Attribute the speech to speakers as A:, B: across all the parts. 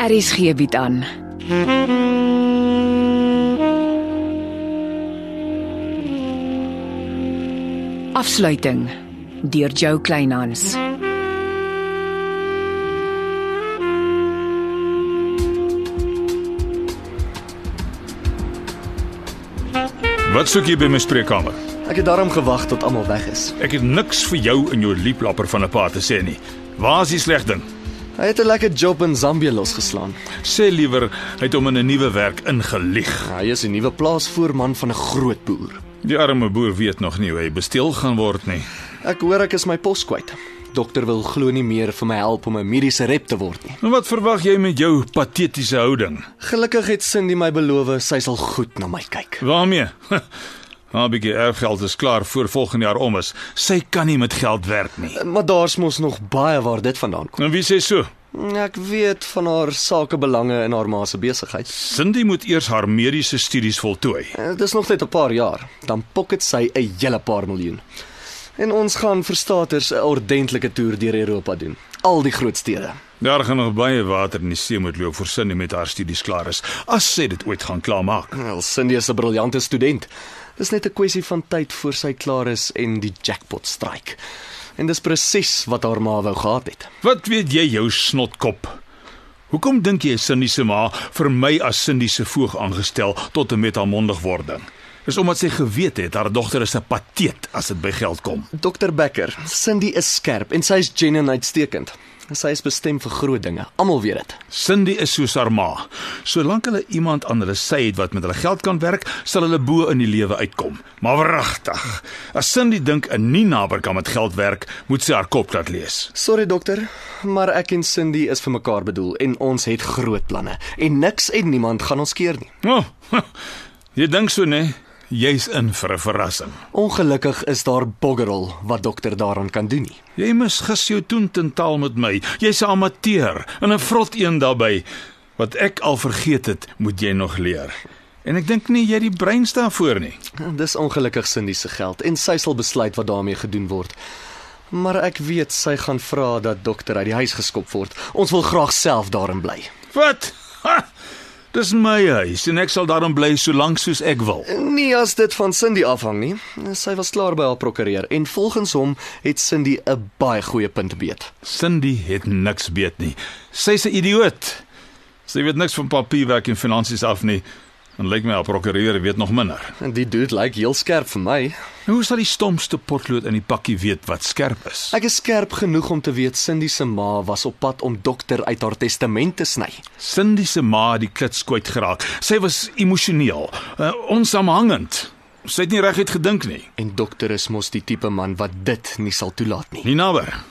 A: Aries gee bied Er aan. Afsluiting deur Jo Kleinhans.
B: Wat soek jy by my spreekkamer?
C: Ek het daarom gewag tot almal weg is.
B: Ek het niks vir jou in jou lieplapper van 'n pa te sê nie. Waar is die sleg ding?
C: Hy het 'n lekker job in Zambië losgeslaan.
B: Sê liewer hy het hom in 'n nuwe werk ingelieg.
C: Hy is 'n nuwe plaasvoorman van 'n groot boer.
B: Die arme boer weet nog nie hoe hy besteel gaan word nie.
C: Ek hoor ek is my pos kwyt. Dokter wil glo nie meer vir my help om 'n mediese rep te word nie.
B: En wat verwag jy met jou patetiese houding?
C: Gelukkig het Cindy my beloof sy sal goed na my kyk.
B: Waarmee? Haar bietjie erfgeld is klaar voor volgende jaar om is. Sy kan nie met geld werk nie.
C: Maar daar's mos nog baie waar dit vandaan kom.
B: En wie sê so?
C: Ek weet van haar sakebelange in haar ma se besigheid.
B: Cindy moet eers haar mediese studies voltooi.
C: Eh, Dis nog net 'n paar jaar, dan pocket sy 'n hele paar miljoen. En ons gaan verstaters 'n ordentlike toer deur Europa doen. Al die groot stede.
B: Daar gaan nog baie water in die see moet loop voor Cindy met haar studies klaar is. As sy dit ooit gaan klaarmaak.
C: Wel, Cindy is 'n briljante student. Dis net 'n kwessie van tyd voor sy klaar is en die jackpot stryk. En dis presies wat haar ma wou gehad het.
B: Wat weet jy jou snotkop? Hoekom dink jy Cindy se ma vir my as Cindy se voog aangestel tot 'n metamondigwording? Dis omdat sy geweet het haar dogter is 'n pateet as dit by geld kom.
C: Dr Becker, Cindy is skerp en sy is genuine uitstekend. Sy is bestem vir groot dinge. Almal weet dit.
B: Cindy is soos haar ma. Solank hulle iemand aan hulle sy het wat met hulle geld kan werk, sal hulle bo in die lewe uitkom. Maar wragtig, as Cindy dink 'n nie naboer kan met geld werk, moet sy haar kop laat lees.
C: Sorry dokter, maar ek en Cindy is vir mekaar bedoel en ons het groot planne en niks en niemand gaan ons keer nie.
B: O, oh, jy dink so, né? Jy's in vir 'n verrassing.
C: Ongelukkig is daar boggerel wat dokter daaraan kan doen nie.
B: Jy misgis jou toententaal met my. Jy's 'n amateur en 'n vrot een daarbey. Wat ek al vergeet het, moet jy nog leer. En ek dink nie jy het die breins daarvoor nie.
C: Dis ongelukkig Cindy se geld en sy sal besluit wat daarmee gedoen word. Maar ek weet sy gaan vra dat dokter uit die huis geskop word. Ons wil graag self daarin bly.
B: Wat? Ha! Dis my huis en ek sal daarom bly solank soos ek wil.
C: Nie as dit van Cindy afhang nie. Sy was klaar by haar prokureur en volgens hom het Cindy 'n baie goeie punt beet.
B: Cindy het niks weet nie. Sy's 'n idioot. Sy weet niks van papierwerk en finansies af nie. En lyk my haar prokureur weet nog minder.
C: En die dude lyk heel skerp vir my.
B: Hoe sal die stomste potlood in die pakkie weet wat skerp is?
C: Ek is skerp genoeg om te weet Cindy se ma was op pad om dokter uit haar testament te sny.
B: Cindy se ma het die klits kwyt geraak. Sy was emosioneel, uh, onsamhangend. Sy het nie reguit gedink nie.
C: En dokter is mos die tipe man wat dit nie sal toelaat nie.
B: Ninaber.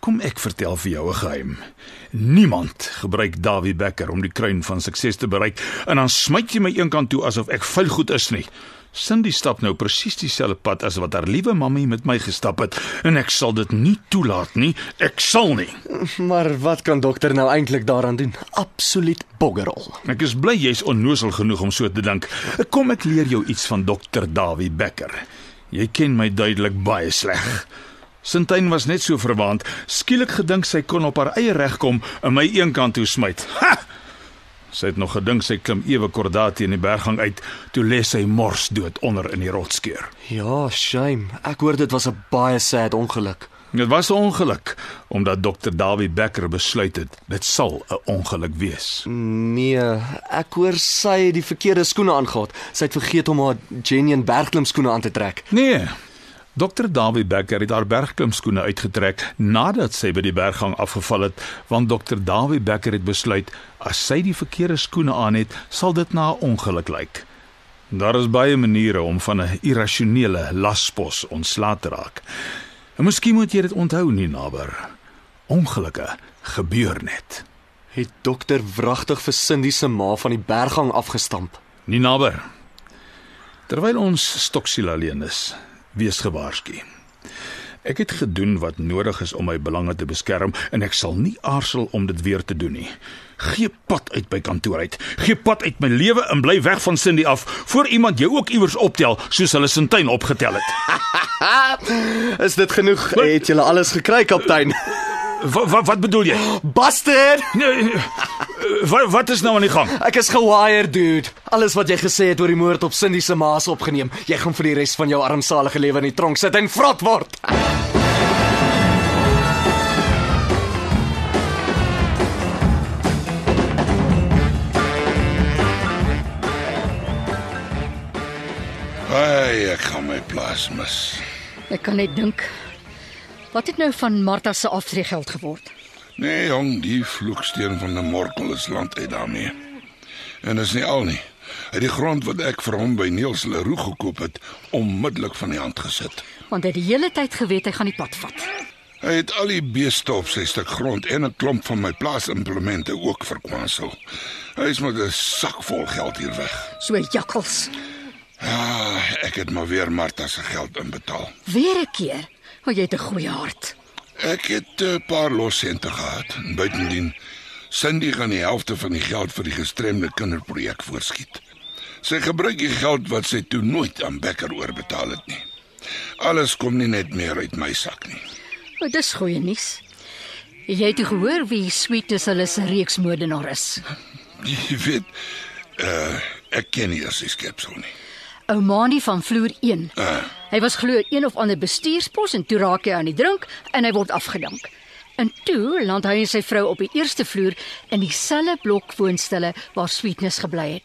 B: Kom ek vertel vir jou 'n geheim. Niemand gebruik Davie Becker om die kruin van sukses te bereik en dan smyt jy my eenkant toe asof ek vuil goed is nie. Cindy stap nou presies dieselfde pad as wat haar liewe mammie met my gestap het en ek sal dit nie toelaat nie. Ek sal nie.
C: Maar wat kan dokter nou eintlik daaraan doen? Absoluut boggerol.
B: Ek is bly jy's onnosel genoeg om so te dink. Ek kom ek leer jou iets van dokter Dawie Becker. Jy ken my duidelik baie sleg. Sintyn was net so verwaand, skielik gedink sy kon op haar eie reg kom en my eenkant toe smyt. Ha! Sy het nog gedink sy klim ewe kordaat teen die berggang uit, toe lê sy mors dood onder in die rotskeur.
C: Ja, shame. Ek hoor dit was 'n baie sad ongeluk.
B: Dit was 'n ongeluk omdat dokter Dawie Becker besluit het dit sal 'n ongeluk wees.
C: Nee, ek hoor sy het die verkeerde skoene aangehad. Sy het vergeet om haar genuine bergklim skoene aan te trek.
B: Nee. Dokter Dawie Becker het haar bergklimskoene uitgetrek nadat sy by die berggang afgeval het, want dokter Dawie Becker het besluit as sy die verkeerde skoene aan het, sal dit na 'n ongeluk lyk. Daar is baie maniere om van 'n irrasionele laspos ontslae te raak. En miskien moet jy dit onthou nie naboer. Ongelukke gebeur net.
C: Het dokter wragtig vir Cindy se ma van die berggang afgestamp.
B: Nie naboer. Terwyl ons stoksiel alleen is, wees gewaarsku. Ek het gedoen wat nodig is om my belange te beskerm en ek sal nie aarzel om dit weer te doen nie. Gee pad uit by kantoor uit. Gee pad uit my lewe en bly weg van Cindy af voor iemand jou ook iewers optel soos hulle Sintyn opgetel het.
C: Is dit genoeg? Het julle alles gekry, kaptein?
B: Wat wat, wat bedoel jy?
C: Buster,
B: Nee, wat wat is nou aan die gang?
C: ek is gewired, dude. Alles wat jy gesê het oor die moord op Cindy se ma is opgeneem. Jy gaan vir die res van jou armsalige lewe in die tronk sit en vrot word.
D: Ai, ek gaan my plaas mis.
E: Ek kan net dink. Wat het nou van Martha se aftreegeld geword?
D: Nee, jong, die vloeksteen van 'n morkel is land uit daarmee. En dis nie al nie. Uit die grond wat ek vir hom by Neels Leroux gekoop het, onmiddellik van die hand gesit.
E: Want hy het die hele tyd geweet hy gaan die pad vat.
D: Hy het al die beeste op sy stuk grond en 'n klomp van my plaasimplemente ook verkwansel. Hy is met 'n sak vol geld hier weg.
E: So jakkels.
D: Ah, ek het maar weer Martha se geld inbetaal.
E: Weer 'n keer. O, jy het 'n goeie hart.
D: Ek het 'n paar lossente gehad. En Buitendien Cindy gaan die helfte van die geld vir die gestremde kinderprojek voorskiet. Sy gebruik die geld wat sy toe nooit aan Becker oorbetaal het nie. Alles kom nie net meer uit my sak nie.
E: O, Oh, dis goeie nuus. Jy het gehoor wie Sweetus hulle se reeksmoordenaar is.
D: Jy weet, uh, ek ken nie as sy skepsel nie.
E: Ou Maanie van vloer 1.
D: Uh,
E: Hy was glo een of ander bestuurspos en toe raak hy aan die drink en hy word afgedank. En toe land hy en sy vrou op die eerste vloer in dieselfde blok woonstelle waar Sweetness gebly het.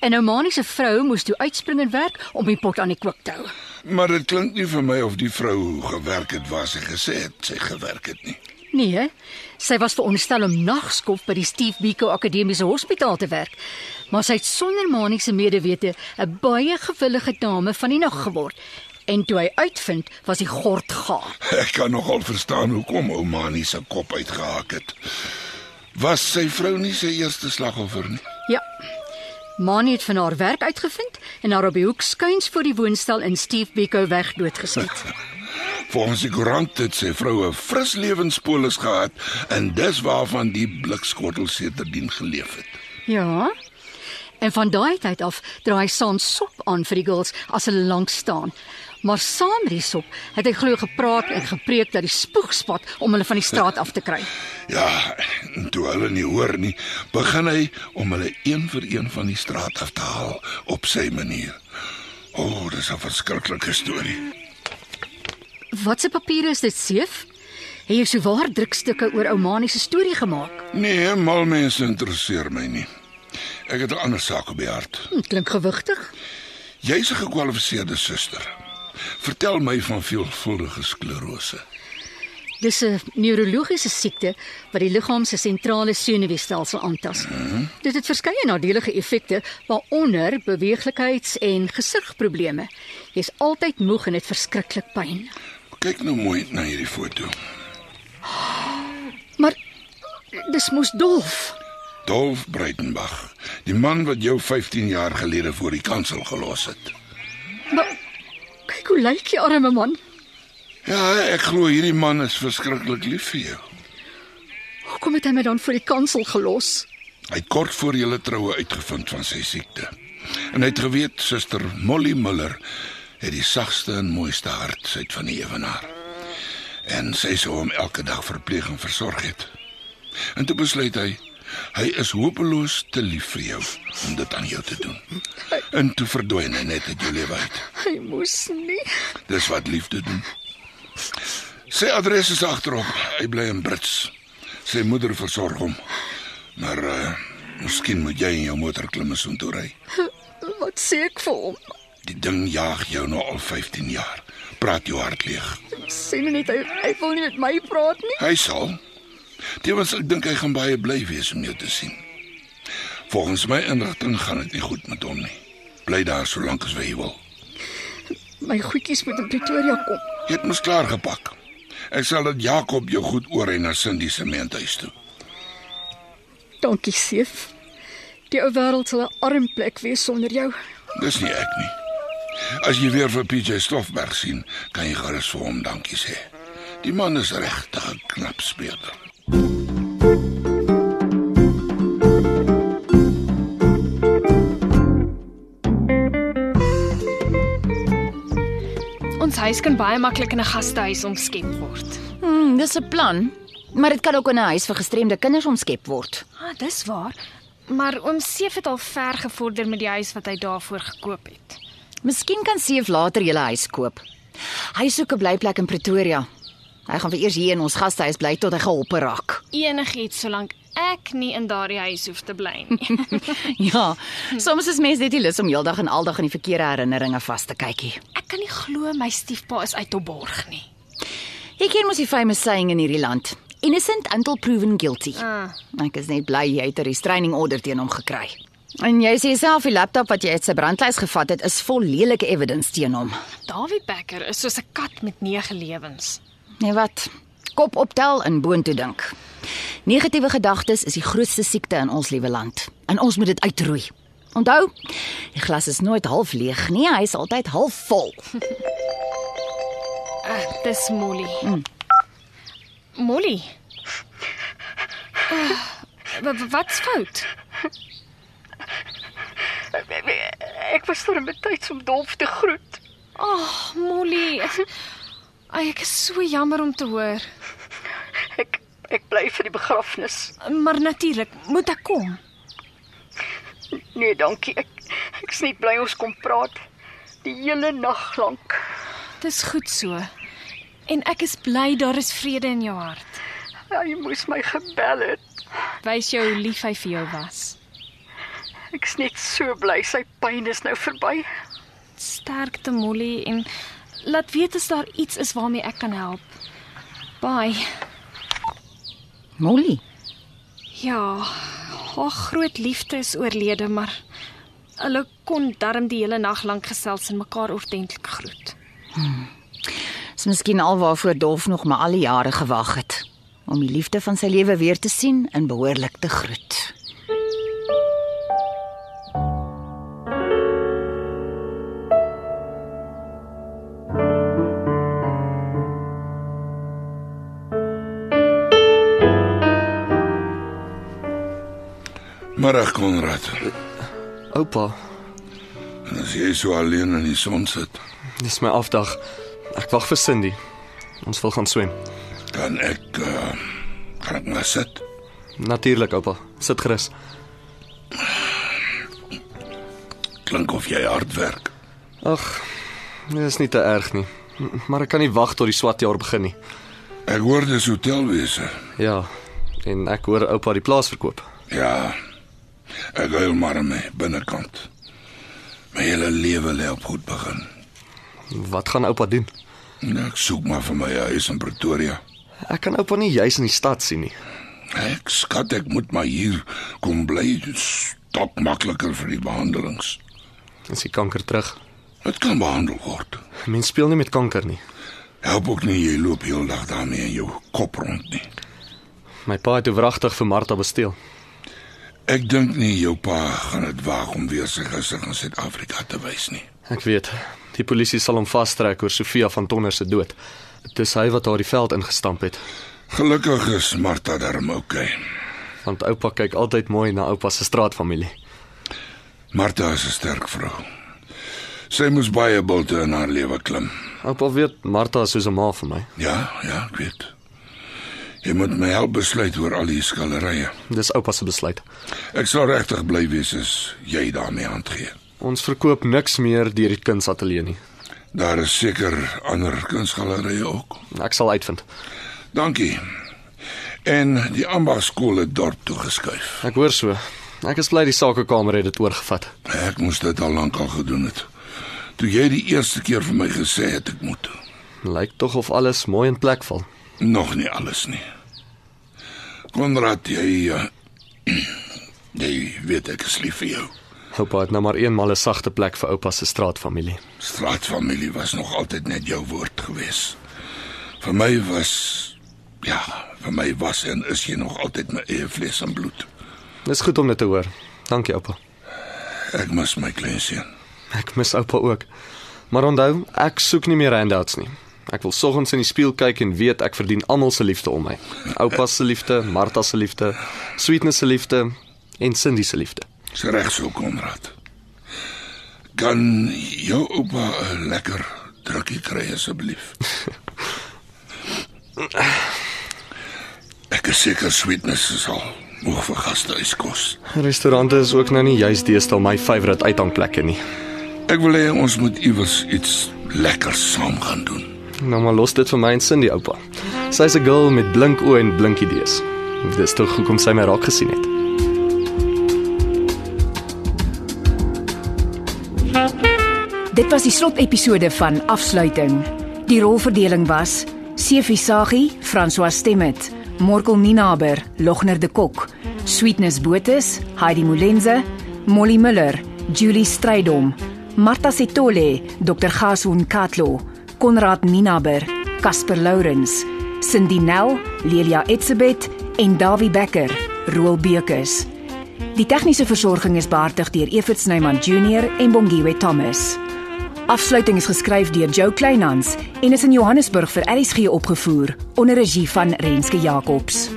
E: En nou Mani se vrou moes toe uitspring en werk om die pot aan die kook te hou.
D: maar dit klink nie vir my of die vrou gewerk het waar sy gesê het sy gewerk het nie.
E: Nee, sy was veronderstel om nagskof by die Steve Biko Akademiese Hospitaal te werk, maar sy het sonder Mani se medewete 'n baie gewillige dame van die nag geword. En toe hy uitvind was die gord gaar.
D: Ek kan nogal verstaan hoekom ouma nie se kop uitgehaak het. Was sy vrou nie sy eerste slagoffer nie?
E: Ja. Mani het van haar werk uitgevind en haar op die hoek skuins voor die woonstel in Steve Biko weg doodgeskiet.
D: Volgens die koerant het sy vrou 'n fris lewenspolis gehad en dis waarvan die blikskottel sedertdien geleef het.
E: ja. En van daai tyd af dra hy saans sop aan vir die girls as hulle lank staan. Maar saam met die sop het hy glo gepraat en gepreek dat die spoeg spat om hulle van die straat af te kry.
D: Ja, en toe hulle nie hoor nie, begin hy om hulle een vir een van die straat af te haal op sy manier. O, oh, dis 'n verskriklike storie.
E: Wat se papiere is dit, Seef? Hy het souwaar drukstukke oor ou Mani se storie gemaak.
D: Nee, mal mense interesseer my nie. Ek het 'n ander saak op die hart.
E: Hm, klink gewigtig.
D: Jy's 'n gekwalifiseerde suster. Vertel my van veelvuldige sklerose.
E: Dis 'n neurologiese siekte wat die liggaam se sentrale senuweestelsel aantas. Dit het verskeie nadelige effekte, waaronder beweeglikheids- en gesigprobleme. Jy's altyd moeg en dit verskriklik pyn.
D: Kyk nou mooi na hierdie foto.
E: Maar dis mos dolf.
D: Dolf Breitenberg, die man wat jou 15 jaar gelede voor die kansel gelos het.
E: Maar kyk hoe lyk die arme man.
D: Ja, ek glo hierdie man is verskriklik lief vir jou.
E: Hoekom het hy my dan voor die kansel gelos?
D: Hy het kort voor julle troue uitgevind van sy siekte. En hy het geweet suster Molly Miller het die sagste en mooiste hart uit van die ewenaar. En sy sou hom elke dag verpleeg en versorg het. En toe besluit hy hy is hopeloos te lief vir jou om dit aan jou te doen. En toe verdwyn hy net uit jou lewe uit.
E: Hy moes nie.
D: Dis wat liefde doen. Sy adres is agterop. Hy bly in Brits. Sy moeder versorg hom. Maar uh, miskien moet jy in jou motor klim en soontoe ry.
E: Wat sê ek vir hom?
D: Die ding jaag jou nou al 15 jaar. Praat jou hart leeg.
E: Sê nou net hy, hy wil nie met my praat nie.
D: Hy sal. Tewens ek dink hy gaan baie bly wees om jou te sien. Volgens my inligting gaan dit nie goed met hom nie. Bly daar solank as jy wil.
E: My goedjies moet in Pretoria kom.
D: Jy het mos klaar gepak. Ek sal dat Jakob jou goed oor en na Cindy se meentuis toe.
E: Dankie, Seef. Die ou wêreld sal 'n arm plek wees sonder jou.
D: Dis nie ek nie. As jy weer vir PJ Stoffberg sien, kan jy gerus vir hom dankie sê. Die man is regtig 'n knap speler.
F: Ons huis kan baie maklik in 'n gastehuis omskep word.
G: Hmm, dis 'n plan.
F: Maar dit kan ook in 'n huis vir gestremde kinders omskep word.
G: Ah, dis waar. Maar oom Seef het al ver gevorder met die huis wat hy daarvoor gekoop het.
F: Miskien kan Seef later julle huis koop. Hy soek 'n blyplek in Pretoria. Hy gaan vir eers hier in ons gastehuis bly tot hy geholpe raak.
G: Enigiets solank ek nie in daardie huis hoef te bly nie.
F: Ja, soms is mense net nie lus om heeldag en aldag aan die verkeerde herinneringe vas te kykie.
G: Ek kan nie glo my stiefpa is uit Tobborg nie.
F: Jy ken mos die famous saying in hierdie land. Innocent until proven guilty.
G: Ah.
F: Ek is net bly jy het 'n restraining order teen hom gekry. En jy sê self die laptop wat jy uit sy brandlys gevat het is vol lelike evidence teen hom.
G: Dawie Becker is soos 'n kat met 9 lewens.
F: Nee wat? Kop optel en boontoe dink. Negatiewe gedagtes is die grootste siekte in ons liewe land en ons moet dit uitroei. Onthou, die glas is nooit half leeg nie, hy is altyd half vol.
G: Ah, dis Molly. Mm. Molly. Uh, wat's fout?
H: Nee, Ek was deur betyds om Dolf te groet.
G: Ag, oh, Molly. Ai, ek is so jammer om te hoor.
H: Ek ek bly vir die begrafnis.
G: Maar natuurlik, moet ek kom?
H: Nee, dankie. Ek ek's net bly ons kom praat die hele nag lank.
G: Dis goed so. En ek is bly daar is vrede in jou hart.
H: Hy moes my gebel het.
G: Wys jou hoe lief hy vir jou was.
H: Ek's net so bly sy pyn is nou verby.
G: Sterkte Molly en laat weet as daar iets is waarmee ek kan help. Bye.
F: Molly,
G: Ja, haar groot liefde is oorlede, maar hulle kon darm die hele nag lank gesels en mekaar ordentlik groet.
F: is miskien alwaarvoor Dolf nog maar al die jare gewag het om die liefde van sy lewe weer te sien en behoorlik te groet.
D: Middag Konrad.
C: Oupa,
D: En as jy so alleen in die son sit,
C: dis my afdag. Ek wag vir Cindy. Ons wil gaan swem.
D: kan ek uh, gaan ek maar sit.
C: Natuurlik, oupa. Sit gerus.
D: Klink of jy hard werk.
C: Ag, dis nie te erg nie. M- Maar ek kan nie wag tot die swatjaar begin nie.
D: Ek hoor dis hotelwese.
C: Ja. En ek hoor oupa die plaas verkoop.
D: Ja. Ek gou maar aan my binnekant. My hele lewe lê op goed begin.
C: Wat gaan oupa doen?
D: En ek soek maar vir my huis in Pretoria.
C: Ek kan oupa nie juis in die stad sien nie.
D: Ek skat ek moet maar hier kom bly. Stap makliker vir die behandelings.
C: Is die kanker terug?
D: Dit kan behandel word.
C: Mense speel nie met kanker nie.
D: Help ook nie jy loop heeldag daarmee in jou kop rond nie.
C: My pa het oorwragtig vir Martha besteel.
D: Ek dink nie jou pa gaan dit waag om weer sy gesig in Suid-Afrika te wys nie.
C: Ek weet. Die polisie sal hom vastrek oor Sofia van Tonner se dood. Dis hy wat haar die veld ingestamp het.
D: Gelukkig is Martha darm oukei. Okay.
C: Want oupa kyk altyd mooi na oupa se straatfamilie.
D: Martha is 'n sterk vrou. Sy moes baie bulte in haar lewe klim.
C: Oupa weet Martha is soos 'n ma vir my.
D: Ja, ja, ek weet. Jy moet my help besluit oor al die skillerye.
C: Dis oupa se besluit.
D: Ek sal regtig bly wees as jy daarmee handgee.
C: Ons verkoop niks meer deur die kunsateljee nie.
D: Daar is seker ander kunsgalerye ook.
C: Ek sal uitvind.
D: Dankie. En die ambagskool het dorp toe geskuif.
C: Ek hoor so. Ek is bly die sakekamer het dit oorgevat.
D: Ek moes dit al lank al gedoen het. Toe jy die eerste keer vir my gesê het ek moet.
C: Lyk tog of alles mooi in plek val.
D: Nog nie alles nie. Konrad, jy eh, jy weet ek is lief vir jou.
C: Oupa het nou maar eenmal 'n sagte plek vir oupa se straatfamilie.
D: Straatfamilie was nog altyd net jou woord gewees. Vir my was ja, vir my was en is jy nog altyd my eie vlees en bloed.
C: Dis goed om dit te hoor. Dankie oupa.
D: Ek mis my kleinseun.
C: Ek mis oupa ook. Maar onthou, ek soek nie meer handouts nie. Ek wil soggens in die spieël kyk en weet ek verdien almal se liefde om my. Oupa se liefde, Martha se liefde, Sweetness se liefde en Cindy se liefde.
D: Dis reg so, Konrad. Kan jou oupa 'n lekker drukkie kry asseblief? is seker sweetness is al moeg vir gastehuiskos.
C: Restaurante is ook nou nie juis deesdae my favourite uitgangplekke nie.
D: Ek wil hê ons moet iewers iets lekker saam gaan doen.
C: Nou maar los dit vir my en Cindy oupa. Sy's 'n girl met blink oë en blink idees. Dis tog hoekom sy my raak gesien het.
F: Dit was die slotepisode van Afsluiting. Die rolverdeling was: Sefi Sagie, François Stemmet, Morkel Ninaber, Logner de Kok, Sweetness Botha, Heidi Molenze, Molly Müller, Julie Strydom, Martha Setole, Dr. Gasun Katlo, Konrad Ninaber, Casper Lourens, Cindy Nel, Lelia Etsebet en Dawie Becker, Roel Bekus. Die tegniese versorging is behartig deur Evit Snyman Junior en Bongwe Thomas. Afsluiting is geskryf deur Jo Kleinhans en is in Johannesburg vir RSG opgevoer onder regie van Renske Jacobs.